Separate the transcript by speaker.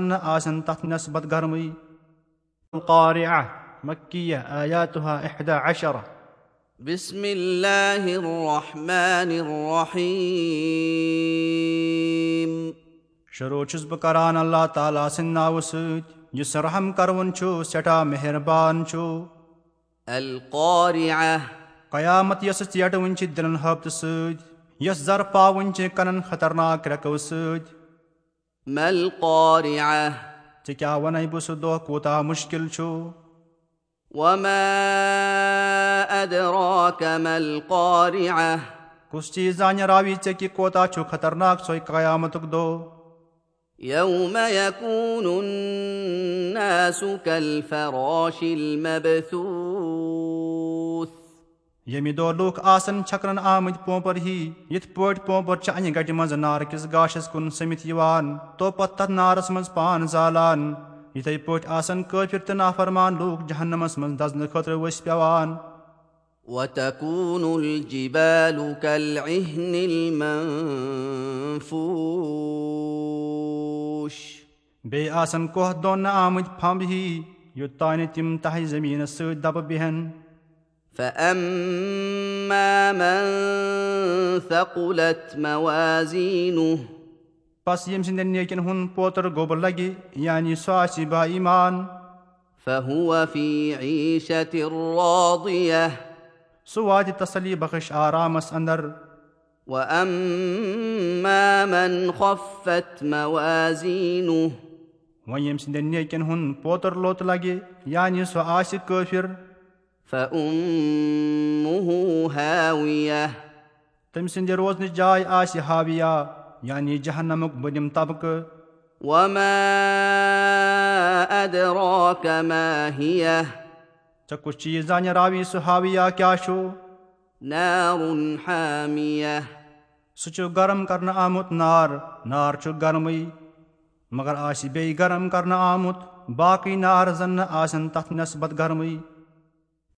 Speaker 1: نہٕ آسن تتھ نسبت گرمٕے القارعة مكية آياتها إحدى عشرة
Speaker 2: بسم الله الرحمن الرحيم
Speaker 1: شروع چھُس بہٕ کران اللہ تعالیٰ سٕنٛدِ ناوٕ سۭتۍ یُس رحم کروُن چھُ سٮ۪ٹھاہ مہربان چھُ
Speaker 2: القارعة
Speaker 1: قیامت یۄس ژیٹوٕنۍ چھِ دِلن ہٲبتہٕ سۭتۍ یۄس زرپاوٕنۍ چھِ کنن خطرناک رٮ۪کو سۭتۍ
Speaker 2: ما القارعة
Speaker 1: ژٕ کیٛاہ وَنے بہٕ سُہ دۄہ کوٗتاہ مُشکِل چھُ
Speaker 2: وما أدراك ما القارعة
Speaker 1: کُس چیٖز زانہِ راوی ژےٚ کہِ کوتاہ چھُ خطرناک سۄے قیامتُک دۄہ
Speaker 2: يوم يكون الناس كالفراش المبثوث
Speaker 1: ییٚمہِ دۄہ لُکھ آسن چھکرن آمٕتۍ پوپر ہی یِتھ پٲٹھۍ پوپر چھِ انہِ گٹہِ منٛز نارٕ کِس گاشس کُن سٔمِتھ یِوان تو پتہٕ تتھ نارس منٛز پان زالان یِتھے پٲٹھۍ آسن کٲفِر تہٕ نافرمان لوٗکھ جہنمس منٛز دزنہٕ خٲطرٕ ؤسۍ پیوان
Speaker 2: وتكون الجبال كالعهن المنفوش
Speaker 1: بیٚیہِ آسن کوہ دونہٕ آمٕتۍ پھمب ہی یوٚتانۍ نہٕ تِم تہہِ زٔمیٖنس سۭتۍ دبہٕ بیٚہن
Speaker 2: فأما من ثقلت موازينه
Speaker 1: پس ییٚمہِ سٕنٛدٮ۪ن نیکٮ۪ن ہُنٛد پوتر گوٚب لگہِ یعنی سُہ آسہِ با ایمان
Speaker 2: فهو في عيشة راضية
Speaker 1: سُہ واتہِ تسلی بخش آرامس انٛدر
Speaker 2: وأما من خفت موازينه
Speaker 1: وۄنۍ ییٚمہِ سٕنٛدٮ۪ن نیکٮ۪ن ہُنٛد پوتر لوٚت لگہِ یعنی سُہ آسہِ کٲفِر
Speaker 2: فأمه هاوية
Speaker 1: تٔمۍ سٕنٛدِ روزنٕچ جاے آسہِ ہاویا یعنی جہنمُک بٔنِم طبقہٕ
Speaker 2: وما أدراك ما هي
Speaker 1: ژےٚ کُس چیٖز زانہِ راوی سُہ ہاویا کیٛاہ چھُ
Speaker 2: نار حامية
Speaker 1: سُہ چھُ گرم کرنہٕ آمُت نار نار چھُ گرمٕے مگر آسہِ بیٚیہِ گرم کرنہٕ آمُت باقٕے نار زن نہٕ آسن تتھ نسبت گرمٕے